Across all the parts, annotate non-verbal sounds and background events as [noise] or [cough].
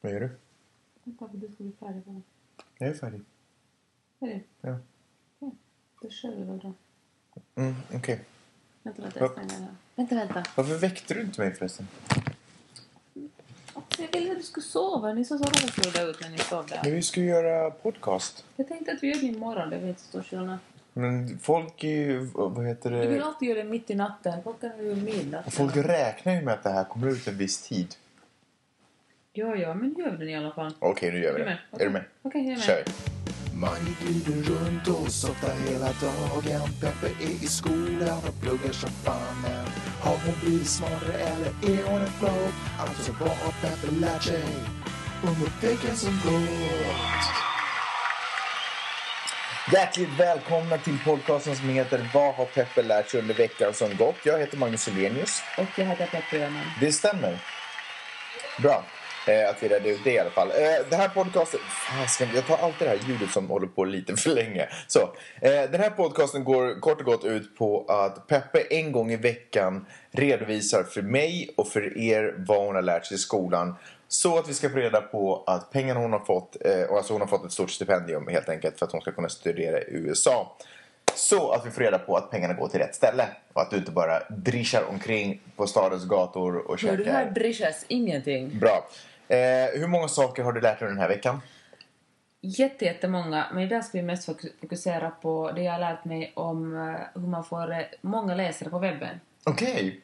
Vad gör du? Vänta, för du ska bli färdig. va? Jag är färdig. Är det? Ja. Okej, Då kör vi väl då. Mm, okej. Vänta, vänta. Ja. Jag stänger den här. Vänta, vänta. Varför väckte du inte mig förresten? Alltså, jag ville att du skulle sova. Ni sa så att jag skulle dö ut när ni sov där. Men vi ska ju göra podcast. Jag tänkte att vi gör det imorgon. Det var inte så stor skillnad. Men folk är ju... Vad heter Du vill det? alltid göra det mitt i natten. Klockan är ju midnatt. Eh. Folk räknar ju med att det här kommer ut en viss tid. Ja, ja, men gör den i alla fall. Okej, nu gör vi Är du det. med? Är du med? Okej, jag är med. Kör! Man glider runt och softar hela dagen. Peppe är i skolan och pluggar som fanen. Har hon blivit smartare eller är hon en flow? Alltså vad har Peppe lärt sig under veckan som gått? Hjärtligt välkomna till podcasten som heter Vad har Peppe lärt sig under veckan som gått? Jag heter Magnus Hellenius. Och jag hade Peppe Öhman. Det stämmer. Bra. Eh, att vi redde ut det i alla fall. Eh, det här podcasten... Fan, ska jag- jag tar alltid det här ljudet som håller på lite för länge. Så, eh, den här podcasten går kort och gott ut på att Peppe en gång i veckan redovisar för mig och för er vad hon har lärt sig i skolan. Så att vi ska få reda på att pengarna hon har fått, eh, och alltså hon har fått ett stort stipendium helt enkelt för att hon ska kunna studera i USA. Så att vi får reda på att pengarna går till rätt ställe och att du inte bara drischar omkring på stadens gator och Hör du käkar. här drischas ingenting. Bra. Eh, hur många saker har du lärt dig den här veckan? Jätte, jättemånga, men idag ska vi mest fok- fokusera på det jag har lärt mig om eh, hur man får eh, många läsare på webben. Okej.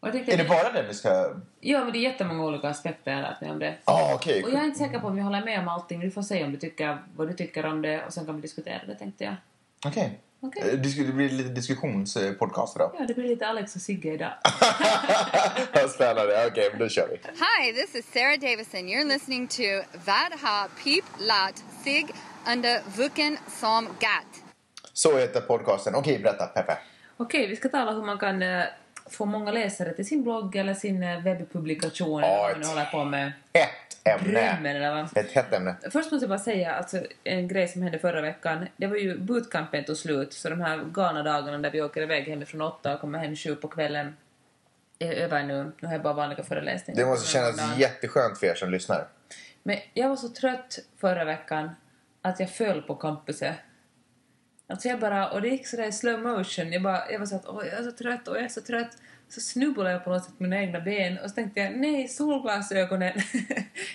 Och jag tänkte- Är det bara den vi ska... Ja, men det är jättemånga olika aspekter jag har lärt mig om det. Ah, okej. Och jag är inte säker på om jag håller med om allting. Du får säga om du tycker, vad du tycker om det och sen kan vi diskutera det, tänkte jag. Okej. Okej. Eh, Det skulle bli lite diskussionspodcast idag. [laughs] Ja, det blir lite Alex och Sigge idag. Spännande. Okej, men då kör vi. Hi, this is Sarah Davison. You're listening to Vadha Peep Lat Sig under Vuken Som Gat. Så heter podcasten. Okej, berätta Peppe. Okej, vi ska tala hur man kan eh, få många läsare till sin blogg eller sin eh, webbpublikation Ja, eller vad ett- man nu håller på med. Ett Drömmen ämne. eller vad. Ett hett ämne. Först måste jag bara säga alltså, en grej som hände förra veckan. Det var ju bootcampen tog slut, så de här galna dagarna där vi åker iväg hemifrån åtta och kommer hem sju på kvällen är över nu. Nu har jag bara vanliga föreläsningar. Det måste kännas jätteskönt för er som lyssnar. Men jag var så trött förra veckan att jag föll på campuset. Alltså jag bara, och det gick sådär i slow motion. Jag, bara, jag var så att åh, jag är så trött och jag är så trött. Så snubblade jag på något sätt med mina egna ben och så tänkte jag nej, solglasögonen. [laughs]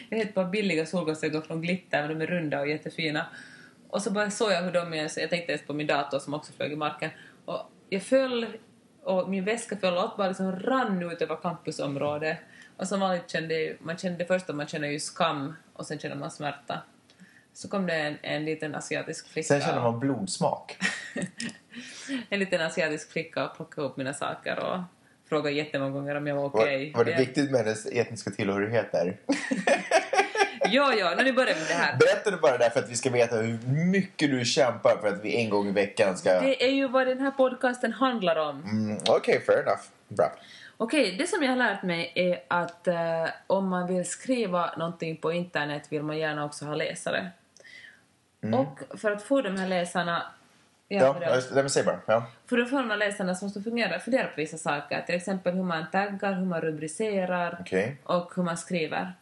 jag har ett par billiga solglasögon från Glitter men de är runda och jättefina. Och så bara såg jag hur de är, så jag tänkte ens på min dator som också flög i marken. Och jag föll och min väska föll och allt bara liksom rann ut över campusområdet. Och som vanligt kände jag ju- man kände det första man känner ju skam och sen känner man smärta. Så kom det en, en liten asiatisk flicka. Sen känner man blodsmak. en liten asiatisk flicka och plockade upp mina saker och frågade jättemånga gånger om jag var okej. Var, var det viktigt med hennes etniska tillhörighet [laughs] där? Ja, ja, nu börjar vi med det här. Berätta det bara där för att vi ska veta hur mycket du kämpar för att vi en gång i veckan ska... Det är ju vad den här podcasten handlar om. Mm, Okej, fair enough. Bra. Okej, det som jag har lärt mig är att eh, om man vill skriva någonting på internet vill man gärna också ha läsare. Och för att få de här läsarna... Mm. Ja, alltså- för ja att- just det. Men säg bara. Ja. För då får man läsarna som måste fungera, fundera på vissa saker, till exempel hur man taggar, hur man rubricerar Okej. Mm. och hur man skriver.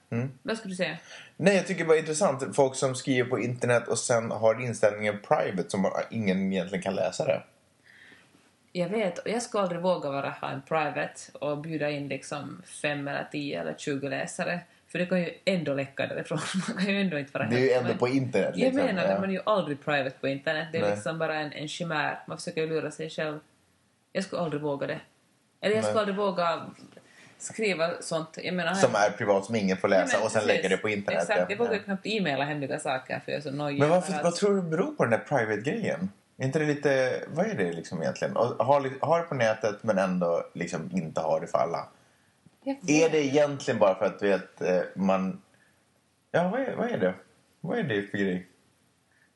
Vad skulle du säga? Nej, jag tycker det var intressant. Folk som skriver på internet och sen har inställningen private som bara ingen egentligen kan läsa det. Jag vet, och jag skulle aldrig våga vara, ha en private och bjuda in liksom fem eller tio eller tjugo läsare, för det kan ju ändå läcka därifrån. [laughs] Man kan ju ändå inte vara Det är ju hemma. ändå på internet. Jag Liksom. menar det, Ja. man är ju aldrig private på internet. Det är Nej. liksom bara en, en chimär. Man försöker ju lura sig själv. Jag skulle aldrig våga det. Eller jag skulle aldrig våga skriva sånt. Jag menar, Som är privat som ingen får läsa Nej, men och sen precis. lägger det på internet. Exakt, jag ja. vågar ju knappt e-maila hemliga saker för jag är så nojig. Men över varför, att- vad tror du beror på den där private-grejen? Är inte det lite, vad är det liksom egentligen? Och Har, li- har det på nätet men ändå liksom inte har det för alla. Jag Är vet. det egentligen bara för att du vet eh, man... Ja, vad är, vad är det? Vad är det för grej?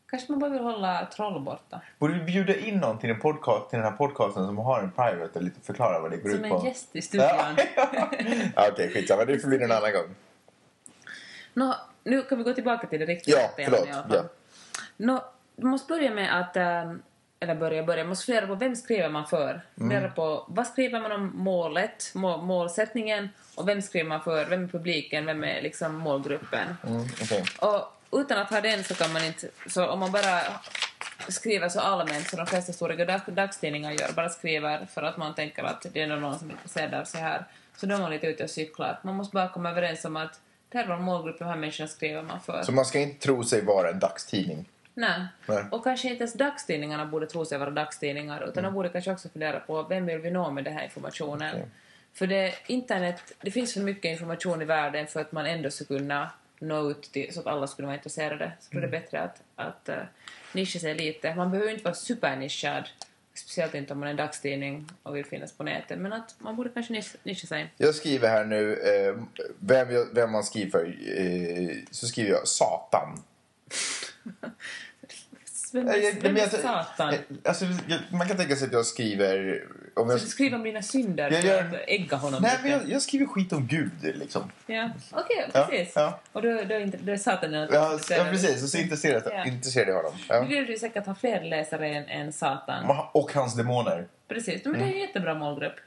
Kanske man bara vill hålla troll borta. Borde vi bjuda in någon till, en podcast, till den här podcasten som har en private och lite förklara vad det går ut Som på? en gäst i Ja. [laughs] studion. Okej, skitsamma. Det får bli någon annan gång. Nå, nu kan vi gå tillbaka till det riktiga Ja, temat förlåt. i alla fall. Nå, du måste börja med att... ehm, eller börja börja, man måste fundera på vem skriver man för? Fundera Mm. på vad skriver man om målet, må, målsättningen och vem skriver man för? Vem är publiken? Vem är liksom målgruppen? Mm, okej. Och utan att ha den så kan man inte... Så om man bara skriver så allmänt som de flesta stora dag, dagstidningar gör, bara skriver för att man tänker att det är nog någon som är intresserad av sig här, så då är man lite ute och cyklar. Man måste bara komma överens om att det här är vår målgrupp, de här människorna skriver man för. Så man ska inte tro sig vara en dagstidning. Nej. Nej. Och kanske inte ens dagstidningarna borde tro sig vara dagstidningar utan de borde kanske också fundera på vem vill vi nå med den här informationen. Mm. Okej. För det, internet, det finns för mycket information i världen för att man ändå ska kunna nå ut till, så att alla skulle vara intresserade. Så då är Mm. det bättre att, att eh, nischa sig lite. Man behöver ju inte vara supernischad, speciellt inte om man är en dagstidning och vill finnas på nätet, men att man borde kanske nischa, nischa sig. [laughs] Jag skriver här nu, eh, vem, jag, vem man skriver för, eh, så skriver jag Satan. Vem Eh, är, jag- vem men är jag- satan? eh, Alltså, jag, man kan tänka sig att jag skriver... Om jag, Så du skriver om dina synder Jag för gör- att ägga honom nej, lite. men jag, jag skriver skit om Gud, liksom. Ja, okej, Ja, precis. ja. Och då, då, är inte- då är Satan den Ja, s- ja precis. Och så intresserad, Ja. intresserad jag av dem. Nu Ja. vill du säkert ha fler läsare än, än Satan. Ma- Mm. Och hans demoner. Precis, men det är en jättebra målgrupp.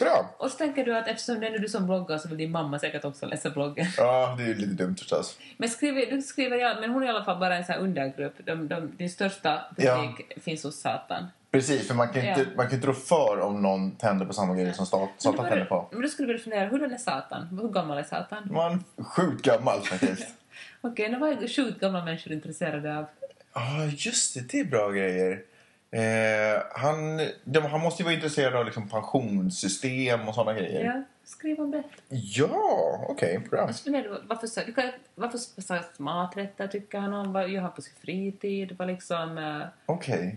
Bra! Och så tänker du att eftersom det är du som bloggar så vill din mamma säkert också läsa bloggen. [laughs] Ja, det är ju lite dumt förstås. Men, skriver, du skriver, ja, men hon är i alla fall bara en sån här undergrupp. De, de, din största Ja. publik finns hos Satan. Precis, för man kan ju inte, Ja. man kan ju inte rå för om någon tänder på samma grejer som sta- Men då Satan bör tänder du- på. Men då skulle du fundera, hur den är Satan? Hur gammal är Satan? Man sjukt gammal faktiskt. Okej, nu var sjukt gamla människor intresserade av. [laughs] Ja, just det. Det är bra grejer. Eh, han, de, han måste ju vara intresserad av liksom pensionssystem och sådana grejer. Ja, skriv om det. Ja, okej. bra. Alltså, men du, varför, så- du kan, varför så här maträtter tycker han om? Vad gör han på sin fritid? Vad liksom, eh, Okej.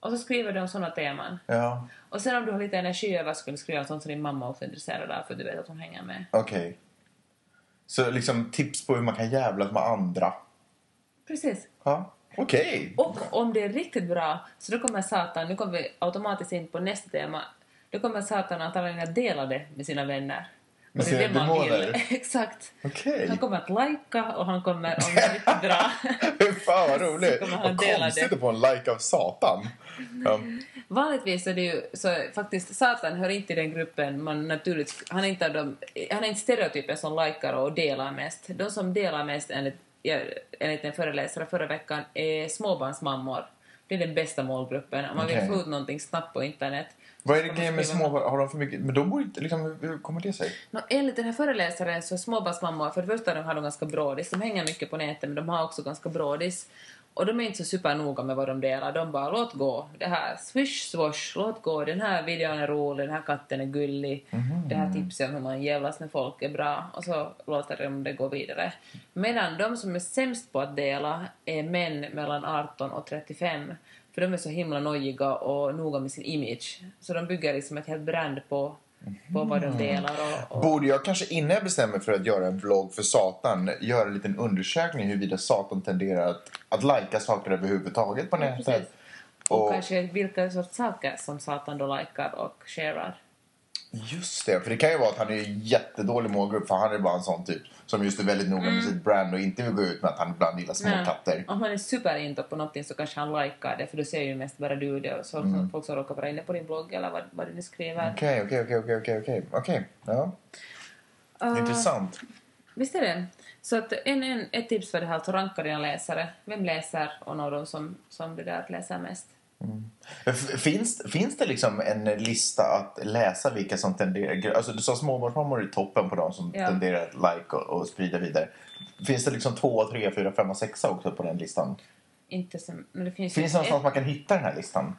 och så skriver du om sådana teman. Ja, Och sen om du har lite energi över så kan du skriva om sånt som din mamma också är intresserad av för du vet att hon hänger med. okej. Så liksom tips på hur man kan jävlas med andra. Precis. Ja, okej. Och om det är riktigt bra så då kommer Satan, nu kommer vi automatiskt in på nästa tema, då kommer Satan antagligen att dela det med sina vänner. Och Med det är sina det man vill. demoner? [laughs] Exakt. Okej. Han kommer att lajka och han kommer, om [laughs] det är riktigt bra, Hur fan vad roligt. Så kommer han Vad dela konstigt det. Mm. att få en like av Satan. Ja. Vanligtvis är det ju så faktiskt Satan hör inte i den gruppen man naturligt, han är inte, av de, han är inte stereotypen som likar och delar mest. De som delar mest enligt, ja, enligt en föreläsare förra veckan är småbarnsmammor. Det är den bästa målgruppen. Om man Okej. vill få ut någonting snabbt på internet. Vad är så det ska man grejen med skriva små... Har de för mycket... Men de borde inte... Liksom, hur kommer det sig? Nå, enligt den här föreläsaren så är småbarnsmammor, för det första de har de ganska brådis, de hänger mycket på nätet men de har också ganska brådis. Och de är inte så supernoga med vad de delar, de bara låt gå, det här swish swash, låt gå, den här videon är rolig, den här katten är gullig, det här tipset om hur man jävlas med folk är bra och så låter de det gå vidare. Medan de som är sämst på att dela är män mellan 18 och 35 för de är så himla nojiga och noga med sin image. Så de bygger liksom ett helt brand på, på vad de delar och, och Borde jag kanske innan jag bestämmer för att göra en vlogg för Satan göra en liten undersökning huruvida Satan tenderar att, att lajka saker överhuvudtaget på nätet? precis. Och, Och- kanske vilka sorts saker som Satan då likar och sharear. Just det, för det kan ju vara att han är en jättedålig målgrupp för han är bara en sån typ som just är väldigt noga Mm. med sitt brand och inte vill gå ut med att han ibland gillar små Men katter. Om han är superinto på någonting så kanske han likar det för då ser ju mest bara du det och så Mm. så folk som råkar vara inne på din blogg eller vad, vad du nu skriver. Okej, okej, okej, okej, okej, okej, okej, ja. Ah, Intressant. Visst är det? Så att en, en, ett tips för det här är att ranka dina läsare. Vem läser och nå de som, som det där att läsa mest. F- Finns, finns det liksom en lista att läsa vilka som tenderar... Alltså du sa småbarnsmammor är toppen på de som Ja. tenderar att like och, och sprida vidare. Finns det liksom två, tre, fyra, fem och sexa också på den listan? Inte som, men det Finns finns, det ju någonstans man kan hitta den här listan? ett,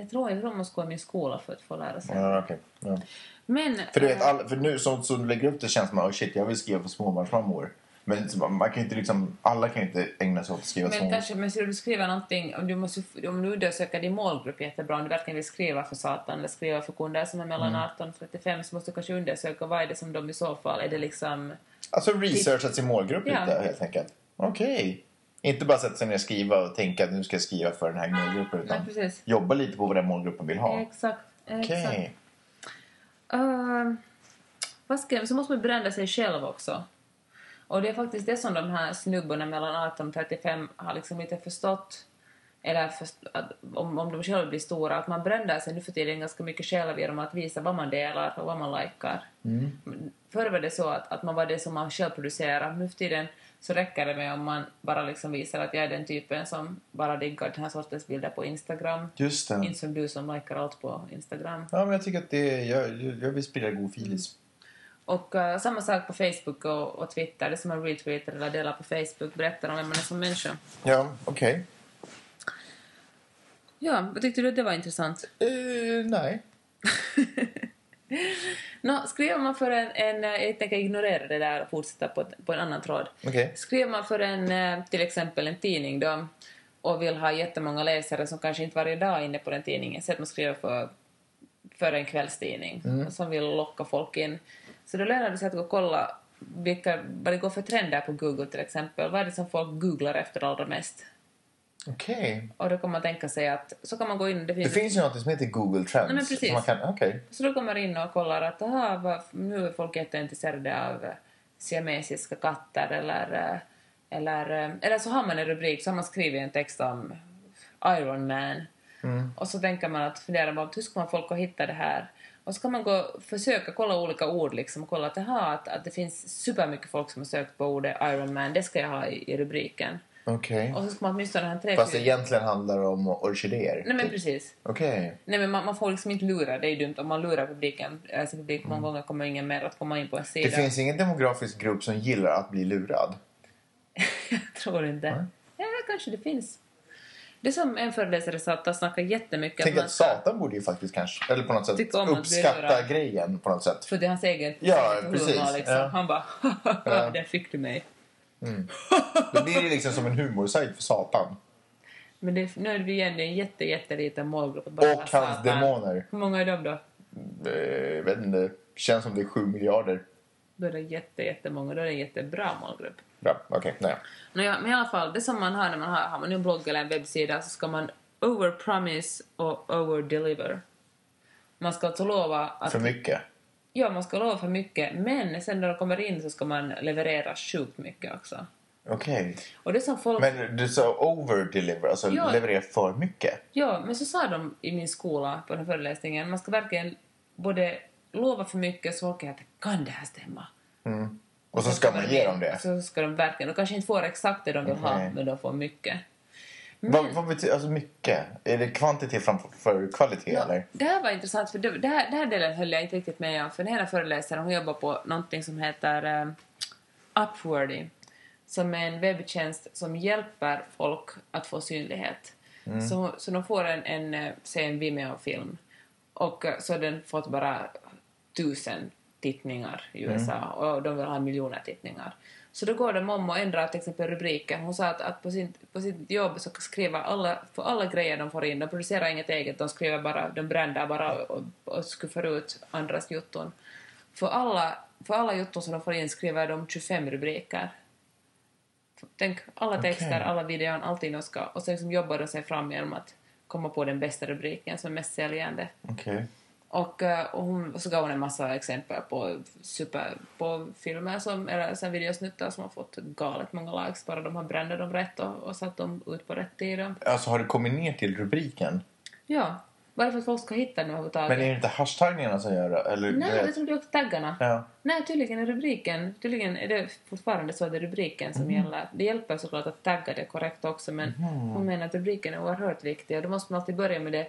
jag tror jag tror man ska gå i min skola för att få lära sig. Ja, okej. Ja. Men, För du vet, eh, all, för nu som, som du lägger upp det känns som att oh shit, jag vill skriva för småbarnsmammor. Men så bara, man kan ju inte liksom, alla kan ju inte ägna sig åt att skriva Men småbarnsmammor. kanske, men skulle du skriva någonting, om du, måste, om du undersöker din målgrupp jättebra, om du verkligen vill skriva för satan eller skriva för kunder som är mellan 18 och 35 så måste du kanske undersöka vad är det som de i så fall, är det liksom... Alltså researcha sin målgrupp Ja. lite helt enkelt. Okej. Inte bara sätta sig ner och skriva och tänka att nu ska jag skriva för den här målgruppen. Utan Nej, precis. jobba lite på vad den målgruppen vill ha. Exakt. Okej. exakt. Ehm, vad ska jag, så måste man bränna sig själv också. Och det är faktiskt det som de här snubbarna mellan 18 och 35 har liksom inte förstått. Eller för, att, om, om de själva blir stora, att man bränner sig nu för tiden ganska mycket själv genom att visa vad man delar och vad man likar. Mm. Förr var det så att, att man var det som man själv producerar. Nu för tiden så räcker det med om man bara liksom visar att jag är den typen som bara diggar den här sortens bilder på Instagram. Just det. Inte som du som likar allt på Instagram. Ja, men jag tycker att det jag, jag vill sprida god filis. Och eh, samma sak på Facebook och, och Twitter. Det som man retweetar eller delar på Facebook berättar om vem man är som människa. Ja, okej. Ja, vad tyckte du att det var intressant? Eh, nej. Nå, skriver man för en, en... eh, Jag tänker ignorera det där och fortsätta på, på en annan tråd. Okej. Skriver man för en, eh, till exempel en tidning då och vill ha jättemånga läsare som kanske inte varje dag är inne på den tidningen, så att man skriver för, för en kvällstidning som vill locka folk in. Så då lönar det sig att gå och kolla vilka, vad det går för trender på Google till exempel. Vad är det som folk googlar efter allra mest? Okej. Och då kan man tänka sig att så kan man gå in, det Det finns, finns ju något som heter Google Trends. Nej, men precis. som Man kan, okej. så då kommer man in och kollar att aha, vad, nu är folk jätteintresserade av eh, siamesiska katter eller, eh, eller, eh, eller så har man en rubrik, så har man skrivit en text om Iron Man Mm. och så tänker man att fundera på hur ska man folk att hitta det här och så kan man gå, försöka kolla olika ord liksom och kolla att, aha, att, att det finns supermycket folk som har sökt på ordet Iron Man, det ska jag ha i, i rubriken Okej. och så ska man åtminstone ha en tre, Fast det fyra- egentligen handlar det om orkidéer. Nej men typ. precis. Okej. Nej men man, man får liksom inte lura, det är ju dumt. Om man lurar publiken, eh, sin publik många gånger kommer ingen mer att komma in på en sida. Mm. Det finns ingen demografisk grupp som gillar att bli lurad. [laughs] Jag tror inte. Ja, kanske det finns. Det är som en föreläsare sa, att han snackar jättemycket Tänk man att Satan borde ju faktiskt kanske, eller på något sätt Tycka om att bli uppskatta lurad. grejen på något sätt. För det är hans egen Ja, humor, precis, Liksom. ja. Han bara [laughs] där fick du mig. Då blir det liksom som en humorsajt för Satan. Men det, nu är vi igen i en jätte, jätteliten målgrupp. att bara Och säga hans att han- demoner. Hur många är de då? Eh, vet inte, känns som det är sju miljarder. Då är det jätte, jättemånga, då är det en jättebra målgrupp. Bra, okej. Okay, Nåja, men i alla fall, det som man har när man har, har man en blogg eller en webbsida så ska man overpromise och overdeliver. Man ska alltså lova att... För mycket. Ja, man ska lova för mycket, men sen när de kommer in så ska man leverera sjukt mycket också. Okej. Och det som folk... Men du sa over-deliver, alltså Ja. leverera för mycket. Ja, men så sa de i min skola på den här föreläsningen, man ska verkligen både lova för mycket så folk är att kan det här stämma? Och så ska man ge dem det. Så ska de verkligen, de kanske inte får exakt det de vill ha, Okej. men de får mycket. Vad, vad betyder alltså mycket? Är det kvantitet framför för kvalitet eller? Det här var intressant, för det, det, här, det här delen höll jag inte riktigt med om. För den här föreläsaren hon jobbar på någonting som heter um, Upworthy, som är en webbtjänst som hjälper folk att få synlighet. Så, så de får en, en, eh, säg en Vimeo-film och eh, så har den fått bara tusen tittningar i USA och de vill ha miljoner tittningar. Så då går de om och ändrar till exempel rubriken. Hon sa att, att på, sin, på sitt jobb så skriver alla, för alla grejer de får in, de producerar inget eget, de skriver bara, de bränner bara och, och skuffar ut andras jotton. För alla, för alla jotton som de får in skriver de 25 rubriker. Tänk alla texter, Okej. alla videon, allting de ska, och så liksom jobbar de sig fram genom att komma på den bästa rubriken som är mest säljande. Okej. Och, eh, och, hon, och så gav hon en massa exempel på, super, på filmer som, eller sen videosnuttar som har fått galet många likes bara de har brände dem rätt och, och satt dem ut på rätt tid. och- Alltså har det kommit ner till rubriken? Ja, bara för att folk ska hitta den överhuvudtaget. Men är det inte hashtagningarna som gör det? Eller, du Nej, vet- jag trodde också taggarna. Ja. Nej, tydligen är rubriken, tydligen är det fortfarande så att det är rubriken som Mm. gäller. Det hjälper såklart att tagga det korrekt också men Mm-hmm. hon menar att rubriken är oerhört viktig och då måste man alltid börja med det,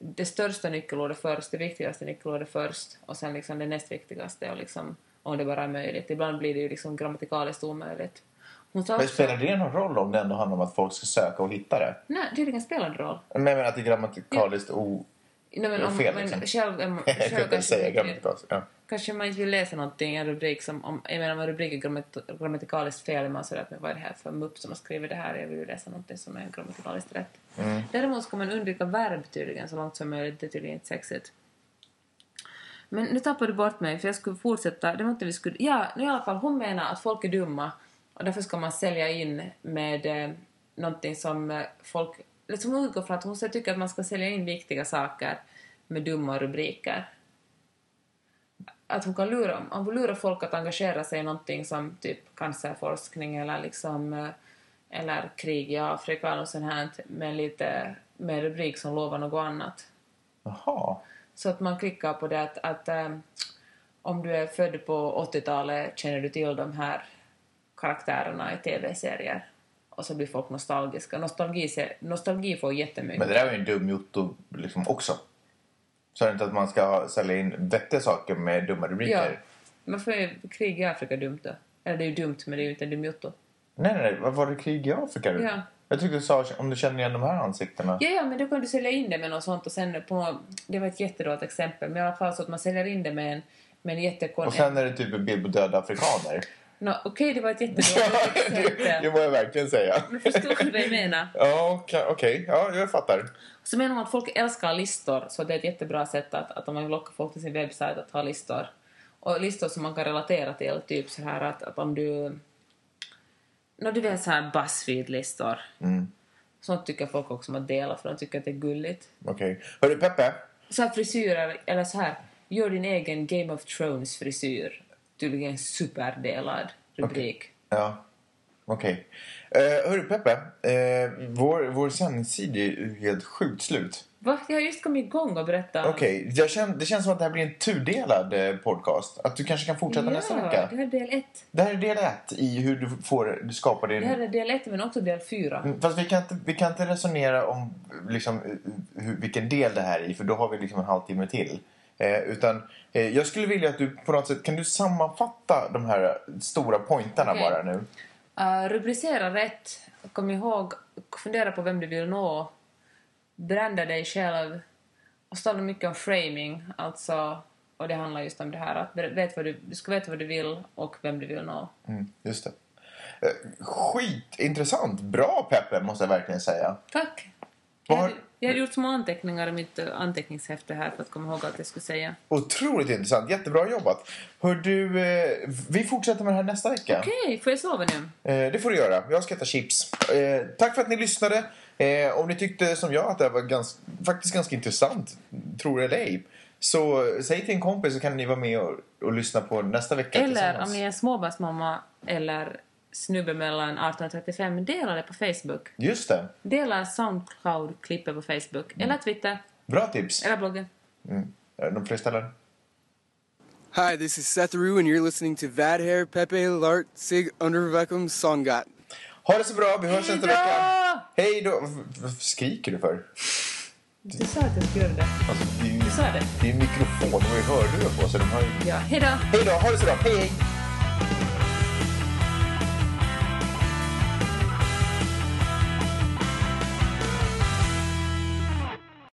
det största nyckelordet först, det viktigaste nyckelordet först och sen liksom det näst viktigaste och liksom, om det bara är möjligt. Ibland blir det ju liksom grammatikaliskt omöjligt. Hon sa Men också, spelar det någon roll om det ändå handlar om att folk ska söka och hitta det? nej tydligen spelar det roll. Men jag menar att det är grammatikaliskt o... [laughs] Nej, men Det är om, fel, men liksom. [laughs] själv, om- Jag själv kunde inte kanske säga inte- grammatikaliskt. Ja. Kanske man inte vill läsa någonting, en rubrik som, om, jag menar om en rubrik är grammat- grammatikaliskt fel, är man sådär att men vad är det här för mupp som har skrivit det här, jag vill ju läsa någonting som är grammatikaliskt rätt. Däremot ska man undvika verb tydligen så långt som möjligt, det är tydligen inte sexigt. Men nu tappade du bort mig, för jag skulle fortsätta, det var inte vi skulle, ja, nu i alla fall, hon menar att folk är dumma och därför ska man sälja in med eh, någonting som eh, folk, liksom hon utgår från att hon så tycker att man ska sälja in viktiga saker med dumma rubriker att hon kan lura, om hon lurar folk att engagera sig i någonting som typ cancerforskning eller liksom eh, eller krig i Afrika eller sånt här med lite med en rubrik som lovar något annat. Jaha. Så att man klickar på det att, att ehm, om du är född på 80-talet känner du till de här karaktärerna i tv-serier. Och så blir folk nostalgiska. Nostalgi, se- nostalgi får jättemycket. Men det där var ju en dum jotto liksom också. Så är det inte att man ska sälja in vettiga saker med dumma Ja. rubriker? Varför är krig i Afrika dumt då? Eller det är ju dumt, men det är ju inte en dum jotto. Nej, nej, nej. Vad var det krig i Afrika? du? Ja. Jag tyckte du sa om du känner igen de här ansiktena. Ja, ja, men då kan du sälja in det med något sånt och sen på... Det var ett jättedåligt exempel, men i alla fall så att man säljer in det med en, med en jättekon... Och sen är det typ en bild på döda afrikaner. Nå, Okej, det var [laughs] ett jättedåligt det exempel. må jag verkligen säga. Men förstår du vad jag menar? Ja, okej. okej. Ja, jag fattar. Så menar man att folk älskar listor, så det är ett jättebra sätt att, att om man vill locka folk till sin webbsajt att ha listor. Och listor som man kan relatera till, typ så här att, att om du... Nå, du vet så här Buzzfeed-listor. Mm, Sånt tycker folk också om att dela för de tycker att det är gulligt. okej. Hörru, Peppe. Så här frisyrer, eller så här, gör din egen Game of Thrones frisyr. Tydligen superdelad rubrik. Ja, okej. Okay. hörru, Peppe. Eh, vår, vår sändningstid är ju helt sjukt slut. Va? Jag har just kommit igång och berättat. om- Okej, jag känn, det känns som att det här blir en tudelad eh, podcast. Att du kanske kan fortsätta ja, nästa vecka. det här är del ett. Det här är del ett i hur du får du skapar din... Det här är del ett men också del fyra. Mm, Fast vi kan inte, vi kan inte resonera om liksom, eh, hur, vilken del det här är i, för då har vi liksom en halvtimme till. Eh, utan eh, jag skulle vilja att du på något sätt, kan du sammanfatta de här stora pointarna Okej. bara nu? Uh, rubricera rätt. Kom ihåg, fundera på vem du vill nå. Brända dig själv. Och så talar de mycket om framing, alltså, och det handlar just om det här att ber- vet vad du, du ska veta vad du vill och vem du vill nå. Mm, just det. Eh, Skitintressant! Bra Peppe, måste jag verkligen säga. Tack! Jag Var- hade, jag hade gjort små anteckningar i mitt eh, anteckningshäfte här för att komma ihåg allt jag skulle säga. Otroligt intressant. Jättebra jobbat. Hör du, eh, vi fortsätter med det här nästa vecka. Okej, får jag sova nu? Eh, det får du göra. Jag ska äta chips. Eh, tack för att ni lyssnade. Eh, om ni tyckte som jag att det här var gans, faktiskt ganska intressant, tror jag ej, så eh, säg till en kompis så kan ni vara med och, och lyssna på nästa vecka Eller tillsammans. om ni är småbarnsmamma eller snubbe mellan 18 och 35, dela det på Facebook. Just det. Dela Soundcloud-klippet på Facebook, eller Twitter, Bra tips. eller bloggen. Mm. Eh, De fler ställen. Hi, this is Seth Rue, and you're listening to Vadhair Pepe Lart Sig Undervecum Songat. Ha det så bra. Vi hörs nästa vecka. Ja! Hej då. V- Varför skriker du för? Du sa att jag skulle göra det. Alltså, det är ju Du sa det. det är ju mikrofon och hörlurar på så de har ju... Ja, hejdå! Hej då. Ha det så bra. Hej, hej.